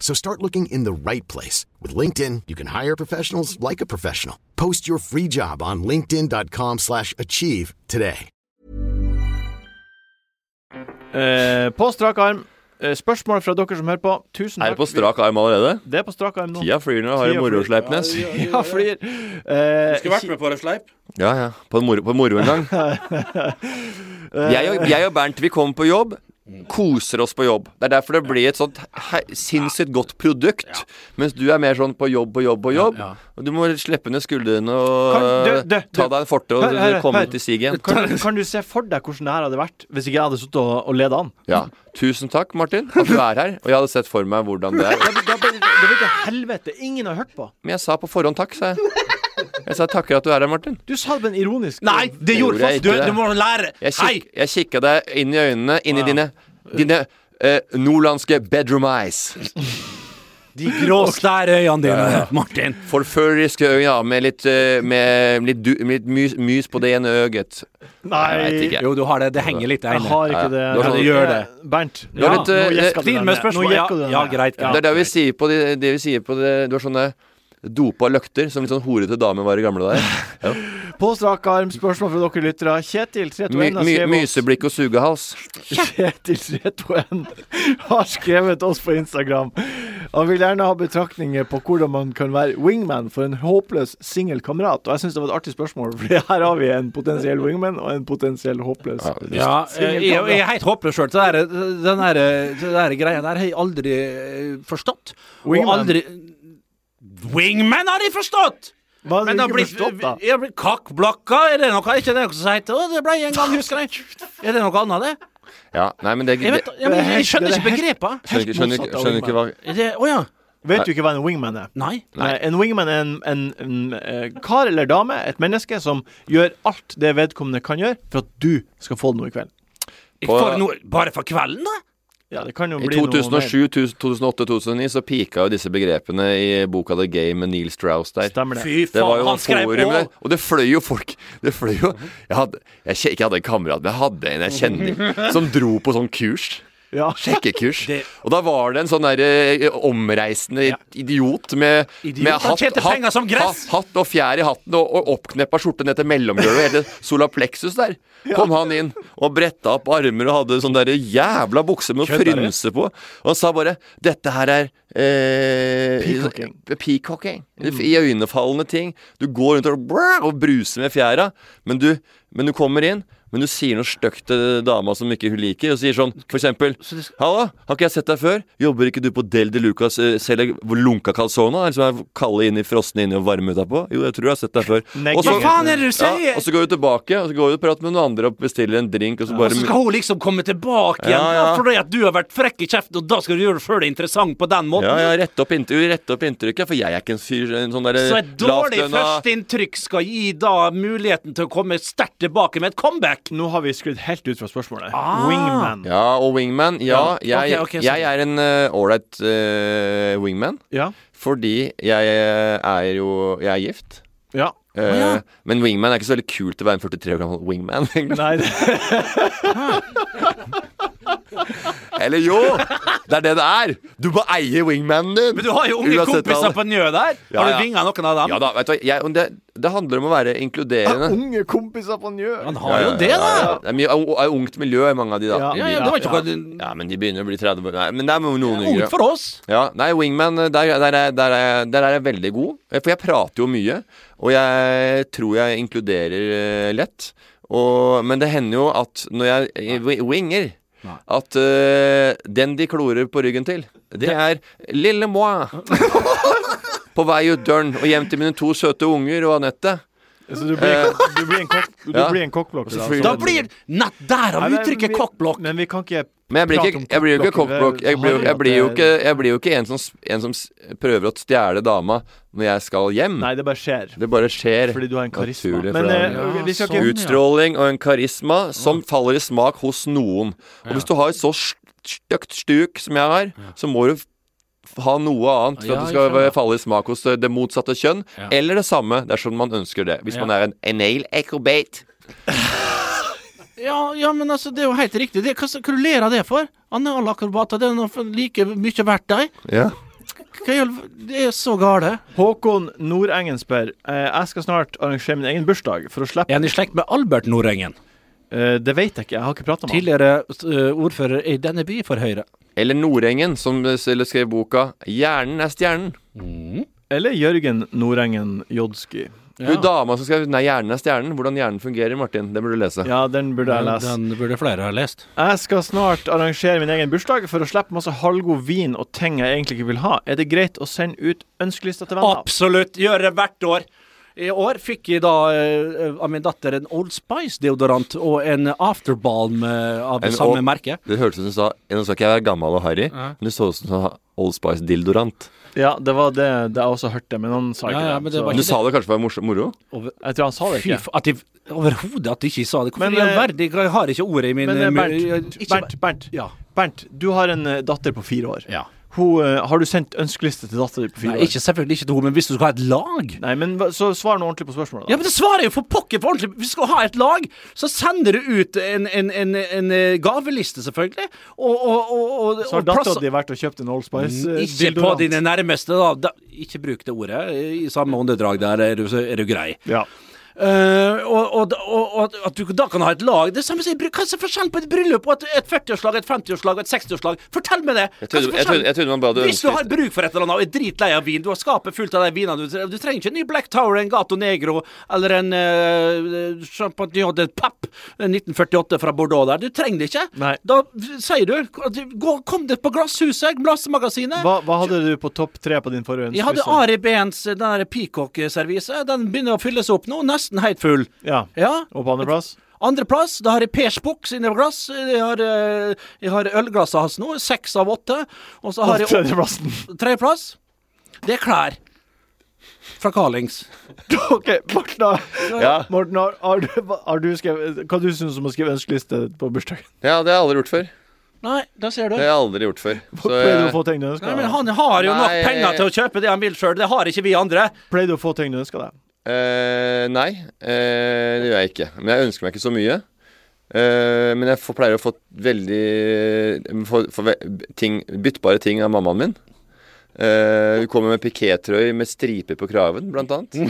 So start looking in the right place. With LinkedIn, you can hire professionals like a professional. Post your free job on linkedin.com/achieve slash achieve today.
Eh, på strak arm. Eh, spørsmål fra dere som hører på. Tusen
Er
takk.
det på strak arm allerede?
Vi- Det er på strak arm nå.
Tida flyr når du har
Tida
en moro,
flyr.
Sleipnes.
Ja, flyr. Eh,
med på det, Sleip.
Ja, ja. På en moro, på en, moro en gang. Jeg og, jeg og Bernt, vi kommer på jobb. Koser oss på jobb. Det er derfor det blir et sånt he- sinnssykt godt produkt. Mens du er mer sånn på jobb, på jobb, på jobb. Og du må slippe ned skuldrene og
Kan- du- du-
ta deg en forte og
Hør, hør,
komme
hør.
ut i siget igjen.
kan, kan du se for deg hvordan det her hadde vært hvis ikke jeg hadde sittet og, og ledet an?
Ja. Tusen takk, Martin, at du er her. Og jeg hadde sett for meg hvordan det er.
Da, da, ble- det ble til helvete. Ingen har hørt på.
Men jeg sa på forhånd takk, sa jeg. Jeg sa takker at du er her, Martin.
Du sa det på en ironisk
Nei, det
gjorde
gjorde
jeg
faktisk du.
ikke det.
Du må lære.
Jeg,
Hei!
kik jeg kikka deg inn i øynene, inn i dine, dine eh, nordlandske bedroom eyes.
De grå stærøyene dine, Martin.
Forføreriske øyne med litt, eh, med litt, du, med litt mys, mys på det ene øyet.
Nei.
Jeg vet ikke.
Jo, du har det. Det henger litt der
Jeg har ikke det.
Du har
Ja,
sånn-
det gjør det.
Bernt,
Du har litt, eh,
gjeska
Still
den
med
der.
spørsmål.
Nå gjekker du
Ja,
den
ja,
der.
greit, greit.
Det er det vi sier på de, det vi sier på det, Du har sånne dopa løkter som litt sånn horete damer var i gamle dager. Ja.
På strak arm, spørsmål fra dere lyttere. Kjetil 321
My,
har
my,
skrevet oss-
myseblikk og sugehals.
Kjetil 321 har skrevet oss på Instagram. Han vil gjerne ha betraktninger på hvordan man kan være wingman for en håpløs singel kamerat. Og jeg syns det var et artig spørsmål, for her har vi en potensiell wingman og en potensiell håpløs.
Ja, eh, jeg, jeg er helt håpløs sjøl. Den, der- det der greia der har jeg aldri eh, forstått. Og
Wingman.
aldri Wingman har jeg forstått!
Hva har
Men
du
da
ikke
blir
forstått, da?
jeg blir kakkblakka, er det noe? Er ikke det noe som heter Å, det ble en gang, husker jeg. Er det noe annet, det?
Ja, nei, men det,
Jeg,
det
vet, ja, men jeg, jeg skjønner ikke
Det
begrepet.
skjønner, ikke- skjønner,
motsatt
ikke-
av
skjønner ikke hva
Er det- Å ja.
Vet du ikke hva en wingman er?
Nei.
Nei. En wingman er en, en, en, eh, kar eller dame, et menneske, som gjør alt det vedkommende kan gjøre for at du skal få det noe i kveld.
Jeg
På-
får noe bare for kvelden, da?
Ja, det kan jo
I
bli noe mer.
2007, 2008, 2009 så pika jo disse begrepene i boka The Game med Neil Strauss der.
Stemmer det.
Fy
Det var
faen,
jo
han skrev
forum
på!
der, og det fløy jo folk. Det fløy jo Jeg hadde jeg kje- ikke hadde en kamerat, men jeg hadde en jeg kjenner, som dro på sånn kurs.
Ja.
Sjekkekurs.
Det-
Og da var det en sånn der, eh, omreisende idiot med,
Idiot,
med
han tjente penger som gress!
hatt, hatt og fjær i hatten og, og oppkneppa skjorte ned til mellomgulvet. Hele solaplexus der. Kom han inn og bretta opp armer og hadde sånn der jævla bukse med
Kødder du?
frynse på. Og han sa bare 'Dette her er eh,
Peacocking.
peacocking.
Mm.
Iøynefallende ting. Du går rundt og, brrr, og bruser med fjæra, men du, men du kommer inn. Men du sier noe stygt til dama som ikke hun liker, og sier sånn for eksempel 'Halla, har ikke jeg sett deg før? Jobber ikke du på Del de Lucas eh, selger lunka calzona? Eller som er kalde inni, frosne inni og varme utapå? Jo, jeg tror jeg har sett deg før.
Nei,
Og så-
hva faen
er det du sier?
Ja, og så går du tilbake, og så går du og prater med noen andre og bestiller en drink, og så bare
Og så skal hun liksom komme tilbake igjen
Ja, ja.
ja, fordi at du har vært frekk i kjeften, og da skal du gjøre det før det er interessant på den måten.
Ja, ja, rette opp, inntrykk, rette opp inntrykket, for jeg er ikke en fyr en sånn derre
Så et dårlig
lavtlønna-
førsteinntrykk skal gi da muligheten til å komme sterkt tilbake med et comeback.
Nå har vi skrudd helt ut fra spørsmålet.
Ah.
Wingman.
Ja, og wingman. Ja,
Ja,
jeg,
ok, ok,
jeg
sånn.
er en eh, ålreit eh, wingman.
Ja.
Fordi jeg eh, er jo Jeg er gift.
ja.
Eh, Men wingman er ikke så veldig kult å være en 43 år gammel wingman. egentlig.
Nei, det,
Eller jo! Det er det det er! Du må eie wingmanen din!
Men du har jo unge
Uansett
kompiser
alder.
på Njø der.
Ja,
har du
ja.
vinga noen av dem?
Ja da, vet du hva. Jeg, og det, det handler om å være inkluderende.
unge kompiser på Njø.
Han har jo det, da.
Ja, Det er mye er ungt miljø i mange av de, da.
Ja,
Ja, ja, det var ikke noe
Ja, men de begynner å bli 30 Nei, men det er noen yngre.
ungt for oss.
Ja, nei, wingman, der, der, er- der, er- der er jeg veldig god. Eh, For jeg prater jo mye, og jeg tror jeg inkluderer eh, lett. Og, men det hender jo at når jeg eh, wi- winger At eh, den de klorer på ryggen til, det er lille moi. på vei ut døren og hjem til mine to søte unger og Anette.
Så du blir, du blir en, kokk- du
Ja.
blir en kokkblokk.
Så
da. Så-
flyr-
Da blir Nett der har
Nei,
vi
men
uttrykket
vi-
kokkblokk.
Men vi kan ikke
Men jeg blir,
prate
ikke,
om
jeg blir jo ikke kokkblokk. Jeg blir, jo- jeg, blir jo ikke, jeg blir jo ikke en som, s- en som s- prøver å stjele dama når jeg skal hjem.
Nei, det bare skjer.
Det bare skjer.
Fordi du har en karisma.
Naturlig
Men
for
eh,
deg.
vi skal
sånn,
ikke
ja.
Utstråling og en karisma som faller i smak hos noen. Og hvis du har et så st- stygt stuk som jeg har, så må du f- ha noe annet for
Ja,
at det
jeg
skal
skjønner.
falle i smak hos eh, det det motsatte kjønn.
Ja.
Eller det samme, dersom man ønsker det. Hvis
Ja.
man er en anal acrobate.
Ja, ja, men altså, det er jo helt riktig. Det, hva, hva du ler av det for? Han er alle akrobater. Det er noe for- like mye verdt, de.
Ja.
Hva i all- Det er så gale.
Håkon Nordengen spør eh, Jeg skal snart arrangere min egen bursdag for å slippe
Er han i slekt med Albert Nordengen?
Eh, Det vet jeg ikke, jeg har ikke prata med han.
Tidligere eh, ordfører i denne by for Høyre.
Eller Nordengen, som eh, s- eller skrev boka 'Hjernen er stjernen'.
Eller Jørgen Nordengen Jodski.
Hun dama som skrev 'Nei, hjernen er stjernen'. Hvordan hjernen fungerer, Martin. Det burde du lese.
Ja, den burde jeg lese.
Den burde flere ha lest.
Jeg skal snart arrangere min egen bursdag for å slippe masse halvgod vin og ting jeg egentlig ikke vil ha. Er det greit å sende ut ønskelister til venner?
Absolutt! Gjør det hvert år. I år fikk jeg da eh, av min datter en Old Spice-deodorant og en Afterbalm eh, av det
En
samme
Old-
merket.
Det hørtes ut som du sa Nå skal ikke jeg være gammel og harry, men det så ut som du sa Old Spice Dildorant.
Ja, det var det, det jeg også hørte, men han sa
Ja,
ikke
ja, men
det.
det var
Du
så.
sa det kanskje for å være morsom- moro?
Jeg tror han sa det
Fy
ikke.
f... At jeg overhodet at jeg ikke sa det. Hvorfor
Men,
i all
eh,
verden? Jeg har ikke ordet i min
Men eh,
munn.
Bernt,
Ikke-
Bernt, Bernt,
Ja.
Bernt, du har en eh, datter på fire år.
Ja.
Hun, eh, har du sendt ønskeliste til dattera di på fire
Nei, ikke, selvfølgelig ikke til henne, men hvis du skal ha et lag
Nei, men hva- så svar nå ordentlig på spørsmålet.
Ja, men det svarer jo for pokker på ordentlig! Vi skal ha et lag! Så sender du ut en, en, en, en eh, gaveliste, selvfølgelig. Og, og, og, og,
Så har
og plasser-
dattera di vært og kjøpt en Old Spice eh,
Ikke på
deodorant.
dine nærmeste, da. da. Ikke bruk det ordet. I samme åndedrag der er du, er du grei. Eh, og, og, og, og at- at du da kan ha et lag Det er samme som i bry- Hva er forskjellen på et bryllup og et, et 40-årslag, et 50-årslag og et 60-årslag? Fortell meg det!
Jeg
Hva er
trodde- jeg trodde- jeg trodde man bare hadde
Hvis du
ønsket-
har bruk for et eller annet og er dritlei av vin, du har skapet fullt av de vinene du trenger Du trenger ikke en ny Black Tower, en Gato Negro eller en uh, Champagnon de Papp 1948 fra Bordeaux der. Du trenger det ikke. Da v- sier du at du- gå, Kom deg på Glasshuset, Glassmagasinet.
Hva, hva hadde du på topp tre på din forrige
Jeg hadde Ari Behns den der peacock-servise. Den begynner å fylles opp nå, nesten helt full.
Ja.
Ja.
Og på andreplass?
Andreplass, da har jeg Pers Buch sine glass. Jeg har, eh, jeg har ølglasset hans nå, seks av åtte. Og så har jeg
Og tredjeplassen.
Tredjeplass, det er klær. Fra Carlings.
OK, Morten, har-
Ja.
Morten har, har, du, har du skrevet Hva du syns om å skrive ønskeliste på bursdagen?
Ja, det har jeg aldri gjort før.
Nei, da ser du.
Det har jeg aldri gjort før. Så
Pleier du å få
jeg,
ting du ønsker
Nei, men han har jo
Nei.
nok penger til å kjøpe det han vil sjøl. Det har ikke vi andre.
Pleier du å få ting du ønsker deg?
Eh, nei, eh, det gjør jeg ikke. Men jeg ønsker meg ikke så mye. Eh, men jeg får, pleier å få veldig få, få ve- ting, byttbare ting av mammaen min. Eh, hun kommer med pikétrøy med striper på kraven, blant annet. Eh,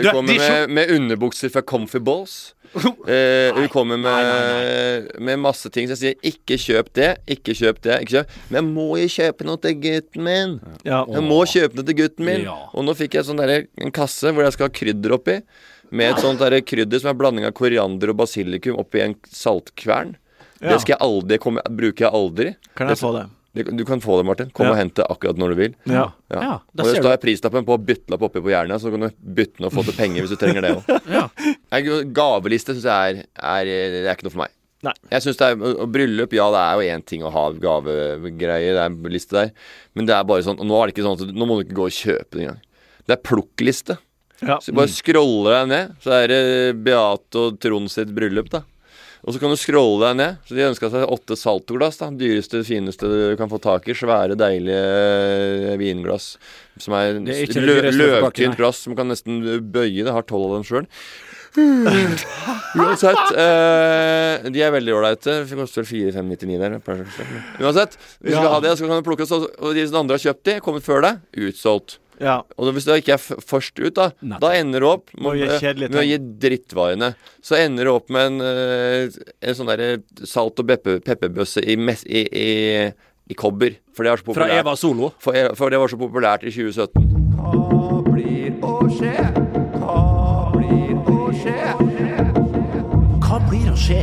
Du,
hun kommer
de skjø-
med, med underbukser fra Comfy Balls. Eh, hun kommer med, med masse ting. Så jeg sier ikke kjøp det, ikke kjøp det. Ikke kjøp. Men jeg må jo kjøpe noe til gutten min.
Ja.
Jeg må kjøpe det til gutten min.
Ja.
Og nå fikk jeg sånn derre- en kasse hvor jeg skal ha krydder oppi. Med et sånt derre krydder som er blanding av koriander og basilikum oppi en saltkvern.
Ja.
Det skal jeg aldri, det kommer, bruker jeg aldri.
Kan jeg få det?
Du, du kan få det, Martin. Kom
Ja.
og hent det akkurat når du vil.
Ja.
Ja, da
og det
ser
står prislappen på byttelapp oppi på hjernen, så kan du bytte den og få til penger hvis du trenger det òg. Gaveliste syns jeg er, er Det er ikke noe for meg.
Nei.
Jeg synes det er, og og Bryllup, ja det er jo én ting å ha gavegreier, det er en liste der. Men det er bare sånn og Nå er det ikke sånn at Nå må du ikke gå og kjøpe det engang. Det er plukkliste.
Ja.
Så du
Mm.
bare scroller deg ned, så er det Beate og Trond sitt bryllup, da. Og så kan du scrolle deg ned. Så de ønska seg åtte saltoglass. da Dyreste, fineste du kan få tak i. Svære, deilige vinglass. Som er,
Det er ikke det
lø
dyreste å få tak i, nei.
løvtynt glass som kan nesten bøye det. Har tolv av dem sjøl. Uansett. eh, de er veldig ålreite. Det Koster vel 4599 der. per slags. Uansett. Hvis du
Ja.
skal ha det, så kan du plukke oss, og og de som andre har kjøpt de, kommer før deg. Utsolgt.
Ja.
Og hvis du ikke er f først ut, da
Nettopp.
Da ender du opp
Må
med,
gi kjedelige
med å
ting.
gi drittvarene. Så ender du opp med en, eh, en sånn derre salt- og beppe- pepperbøsse i, mes- i, i, i kobber. For det, er så
Fra
populært-
Eva Solo.
for, Eva- for det var så populært i 2017.
Hva blir å skje? Hva blir å skje? Hva blir å skje?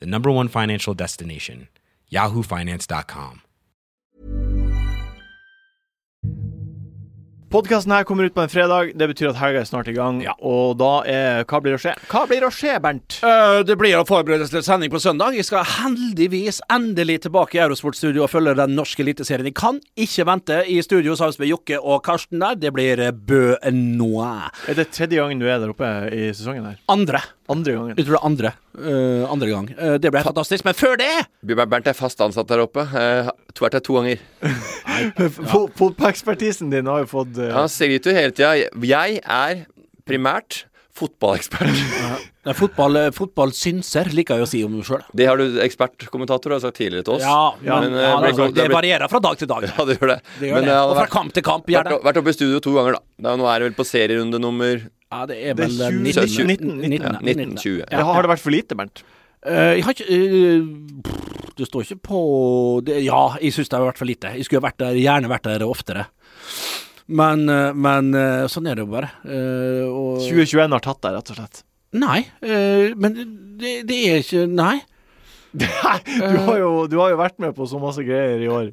the number one financial destination, yahoofinance.com.
Podkasten her kommer ut på en fredag. Det betyr at helga er snart i gang. Og da er Hva blir å skje? Hva blir å skje, Bernt?
Eh, det blir å forberedes til sending på søndag. Jeg skal heldigvis endelig tilbake i Eurosportstudio og følge den norske eliteserien. Jeg kan ikke vente i studio sammen med Jokke og Karsten der. Det blir eh, Bø Noir.
Er det tredje gangen du er der oppe i sesongen her?
Andre.
Andre gangen.
Jeg tror det er andre. Eh, andre gang. Eh, det ble fantastisk. Men før det
Bjørn Bernt er fast ansatt der oppe. Eh, to- vært der to ganger.
Fo- Fotballekspertisen din har jo fått eh,
Han skryter jo hele tida. Jeg er primært fotballekspert.
Nei, fotball, eh, fotballsynser liker jeg å si om meg sjøl.
Det har du ekspertkommentator har sagt tidligere til oss.
Ja,
Ja,
men,
men, eh,
ja,
det er
altså, det
blitt- det er blitt-
varierer fra dag til dag.
Ja, det gjør det.
Det gjør
Men
det.
har
Og fra
vært-
kamp til kamp gjør
Vært,
det.
vært oppe i studio to ganger, da. da. Nå er det vel på serierunde nummer
Ja, det er
Det er
vel eh,
20,
19,
19,
19,
ja, 1920.
Ja, Har det vært for lite, Bernt?
Eh, jeg har ikke eh, pff, Det står ikke på det, Ja, jeg syns det har vært for lite. Jeg skulle vært der, gjerne vært der oftere. Men, eh, men eh, sånn er det jo bare. Eh, og,
2021 har tatt deg, rett og slett.
Nei, eh, men det, det er ikke Nei.
Nei, du har, jo, du har jo vært med på så masse greier i år.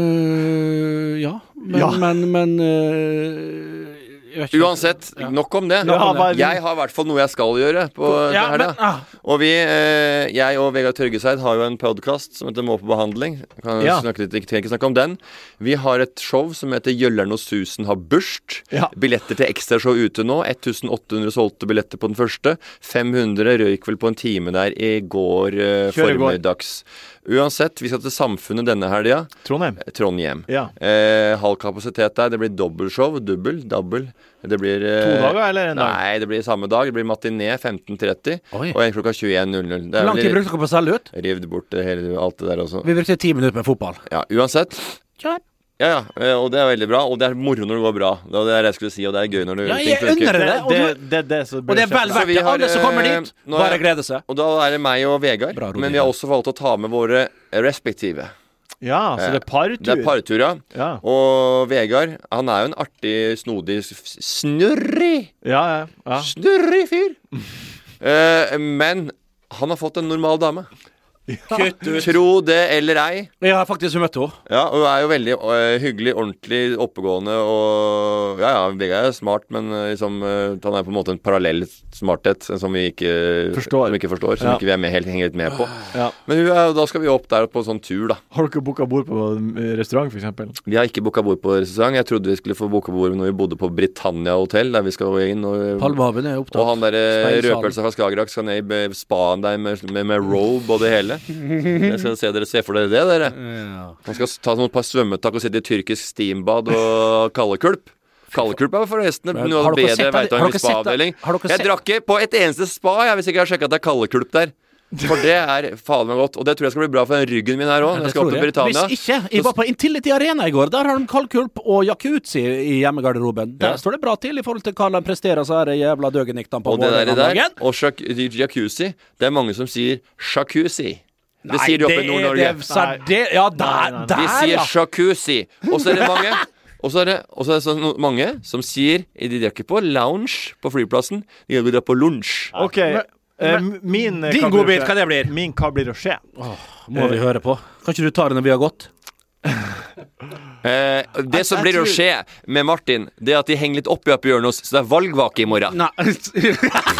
Øh, ja, men,
Ja.
men, men øh, jeg vet ikke.
Uansett, nok om det.
Nok om det.
Jeg har i hvert fall noe jeg skal gjøre på
Ja,
det her.
men- ah.
Og vi, eh, jeg og Vegard Tørgeseid har jo en podkast som heter Må på behandling. Kan
Ja.
snakke litt, trenger ikke snakke om den. Vi har et show som heter Gjøllern og Susen har burst. Billetter til ekstrashow ute nå. 1800 solgte billetter på den første. 500 røyk vel på en time der i går eh,
Kjør i går.
formiddags. Uansett, vi skal til Samfunnet denne helga.
Trondheim.
Trondheim.
Ja.
Eh, halv kapasitet der. Det blir dobbeltshow. Dubbel, dobbel. Det blir eh,
To dager, eller en dag?
Nei, det blir samme dag. Det blir matiné 15.30
Oi.
og en klokka 21.00. Det er
Hvor lang
vel
tid brukte dere på å selge ut?
Rivd bort det hele, alt det der også.
Vi brukte ti minutter med fotball.
Ja, uansett. Ja, ja, eh, og det er veldig bra. Og det er moro når det går bra. Det var det jeg skulle si, og det er gøy når det
Ja, jeg
ting funker.
unner deg det, og du-
Det, det, som
Og det er vel
Så
verdt
vi
det.
har,
Alle som kommer dit,
eh, nå er-
bare glede seg.
Og da er det meg og Vegard, men vi har også valgt å ta med våre respektive.
Ja, så det er partur.
Det er partur, ja.
Ja.
Og Vegard, han er jo en artig, snodig, s- snurrig
Ja, ja, ja.
Snurrig fyr. Eh, men han har fått en normal dame.
Kutt ut.
Tro det eller ei.
Jeg har faktisk møtt henne.
Ja, og Hun er jo veldig eh, hyggelig, ordentlig, oppegående og Ja, ja, Vegard er smart, men eh, liksom, eh, han er på en måte en parallell smarthet eh, som vi ikke
Forstår.
Som, vi ikke forstår, som
Ja.
ikke vi er med, helt henger helt med på.
Ja.
Men hun er, da skal vi opp der på en sånn tur, da.
Har dere booka bord på eh, restaurant, f.eks.?
Vi har ikke booka bord på restaurant. Jeg trodde vi skulle få booka bord når vi bodde på Britannia hotell, der vi skal inn. Og,
Palmehaven er opptatt.
og han der eh,
Speilsalen.
rødpølsa fra Skagerrak skal ned i be- spaen der med, med, med robe og det hele. Jeg skal se dere se for dere det, dere. Han skal s- ta noen par svømmetak og sitte i tyrkisk steambad og kaldekulp. Kaldekulp er forresten
Men
noe
har
av det
dere sett
bedre jeg veit
alle-
om
har
i
dere sett-
spaavdeling.
har dere
Jeg
sett-
drakk ikke på et eneste spa, jeg, hvis ikke jeg har sjekka at det er kaldekulp der. For det er fader meg godt. Og det tror jeg skal bli bra for den ryggen min her òg. Jeg skal opp til Britannia.
Hvis ikke Jeg var på Intility Arena i går. Der har de kaldkulp og jacuzzi i hjemmegarderoben. Der
Ja.
står det bra til i forhold til hva de presterer, så er det jævla døgeniktene på
Og det der,
morgenen om
der
dagen.
og sjak- jacuzzi Det er mange som sier jacuzzi. Det
Nei,
sier de oppe i
det er-
Nord-Norge.
det er særde- Ja, der,
De
der
sier
ja.
jacuzzi. Og så er det mange Og så er det, og så er det sånn no- mange som sier "Eh, De drar ikke på lounge på flyplassen, de drar på lunsj.
OK. eh, min eh,
Din
hva blir
godbit,
å skje?
hva det blir?
Min hva blir å skje?
Må vi høre på. Kan ikke du ta det når vi har gått?
Eh, det som
jeg
blir å skje med Martin, det er at de henger litt oppi oppi hjørnet hos så det er valgvake i morgen.
Nei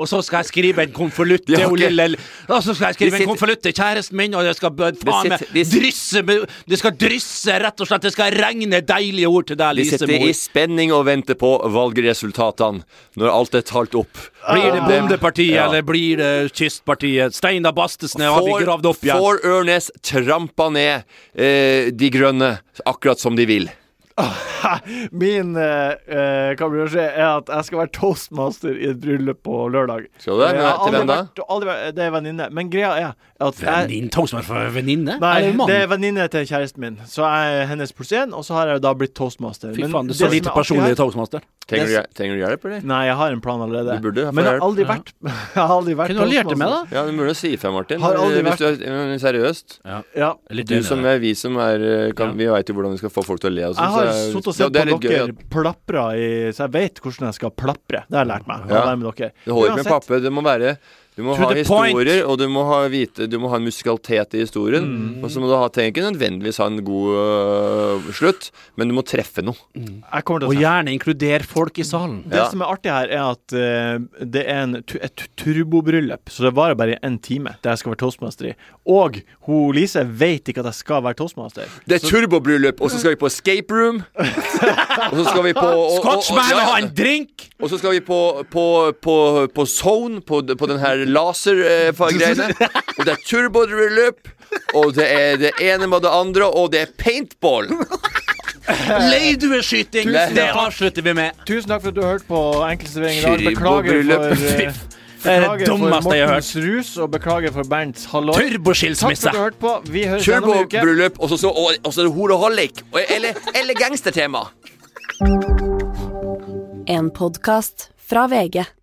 Og så skal jeg skrive en konvolutt
De
til
har
hun
ikke-
lille Og så skal jeg
De
skrive en
sitter-
konvolutt til kjæresten min, og jeg skal bø- faen meg
sitter- de sit-
drysse med- Det skal drysse, rett og slett. Det skal regne deilige ord til deg,
De
Lise
sitter i
Moe.
spenning og venter på valgresultatene når alt er talt opp.
Blir det Bondepartiet,
Ja.
eller blir det Kystpartiet? Steinar Bastesen har vi gravd opp igjen.
Får Ørnes trampa ned eh, de grønne akkurat som de vil.
Min eh, eh, hva blir å skje, er at jeg skal være toastmaster i et bryllup på lørdag.
Skal du det?
Eh,
Men
jeg har
til
aldri
hvem da?
vært- aldri vært- Det er venninne. Men greia er at jeg
Venninne? Tongsmann for venninne?
Nei,
Eller mann?
det er venninne til kjæresten min. Så jeg er hennes pluss én, og så har jeg jo da blitt toastmaster.
Fy
Men
faen, du
det
er så
som
lite
er artig her-
personlig i Toastmaster.
Trenger
Det-
du, trenger du hjelp, eller?
Nei, jeg har en plan allerede.
Du burde få
Men jeg har
hjelp.
aldri vært Jeg har aldri vært
Kunne du alliert deg med, da?
Ja, det er mulig å si ifra, Martin.
Har aldri
Hvis du er eh, seriøst.
Ja.
Litt
Du
enig
som
der.
er vi som er eh, kan, Vi veit jo hvordan vi skal få folk til å le og sånn.
Jeg har sittet
så-
og
Ja,
sett
det
på
er litt
dere
gøy at-
plapre i Så jeg vet hvordan jeg skal plapre. Det har jeg lært meg. av å
Ja.
være med dere.
Det holder ikke med
Uansett,
pappe. Det må være du må
To
ha
the point.
historier, og du må ha, vite, du må ha en musikalitet i historien.
Mm.
Og så må du ha, trenger ikke nødvendigvis ha en god øh, slutt, men du må treffe noe.
jeg kommer til å
Og
se.
gjerne inkluder folk i salen.
Det
Ja.
som er artig her, er at eh, det er en, tu- et turbobryllup, så det varer bare en time der jeg skal være toastmaster i. Og hun Lise vet ikke at jeg skal være toastmaster.
Det er turbobryllup, og så skal vi på escape room. og så skal vi på og- og- og-
Scotchman
ja,
og
ja.
ha en drink!
Og så skal vi på, på, på, på Zone, på, på den her laser-greiene. og det er turbobryllup, og det er det ene med det andre, og det er paintball.
Leidueskyting!
Tusen
Det
takk.
avslutter vi med.
Tusen takk for at du hørte på Enkeltservering i dag. Beklager
Turbobryllup.
for
Fy
eh,
Det er
f-
det
Beklager for
dummeste jeg har
Mortens rus, og beklager for Bernts halloi. Takk for
Turboskilsmisse!
at du hørte på. Vi høres igjen om en uke.
Turbobryllup, og så- så og- og så er det horoholic. og- Eller, eller gangstertema.
En podkast fra VG.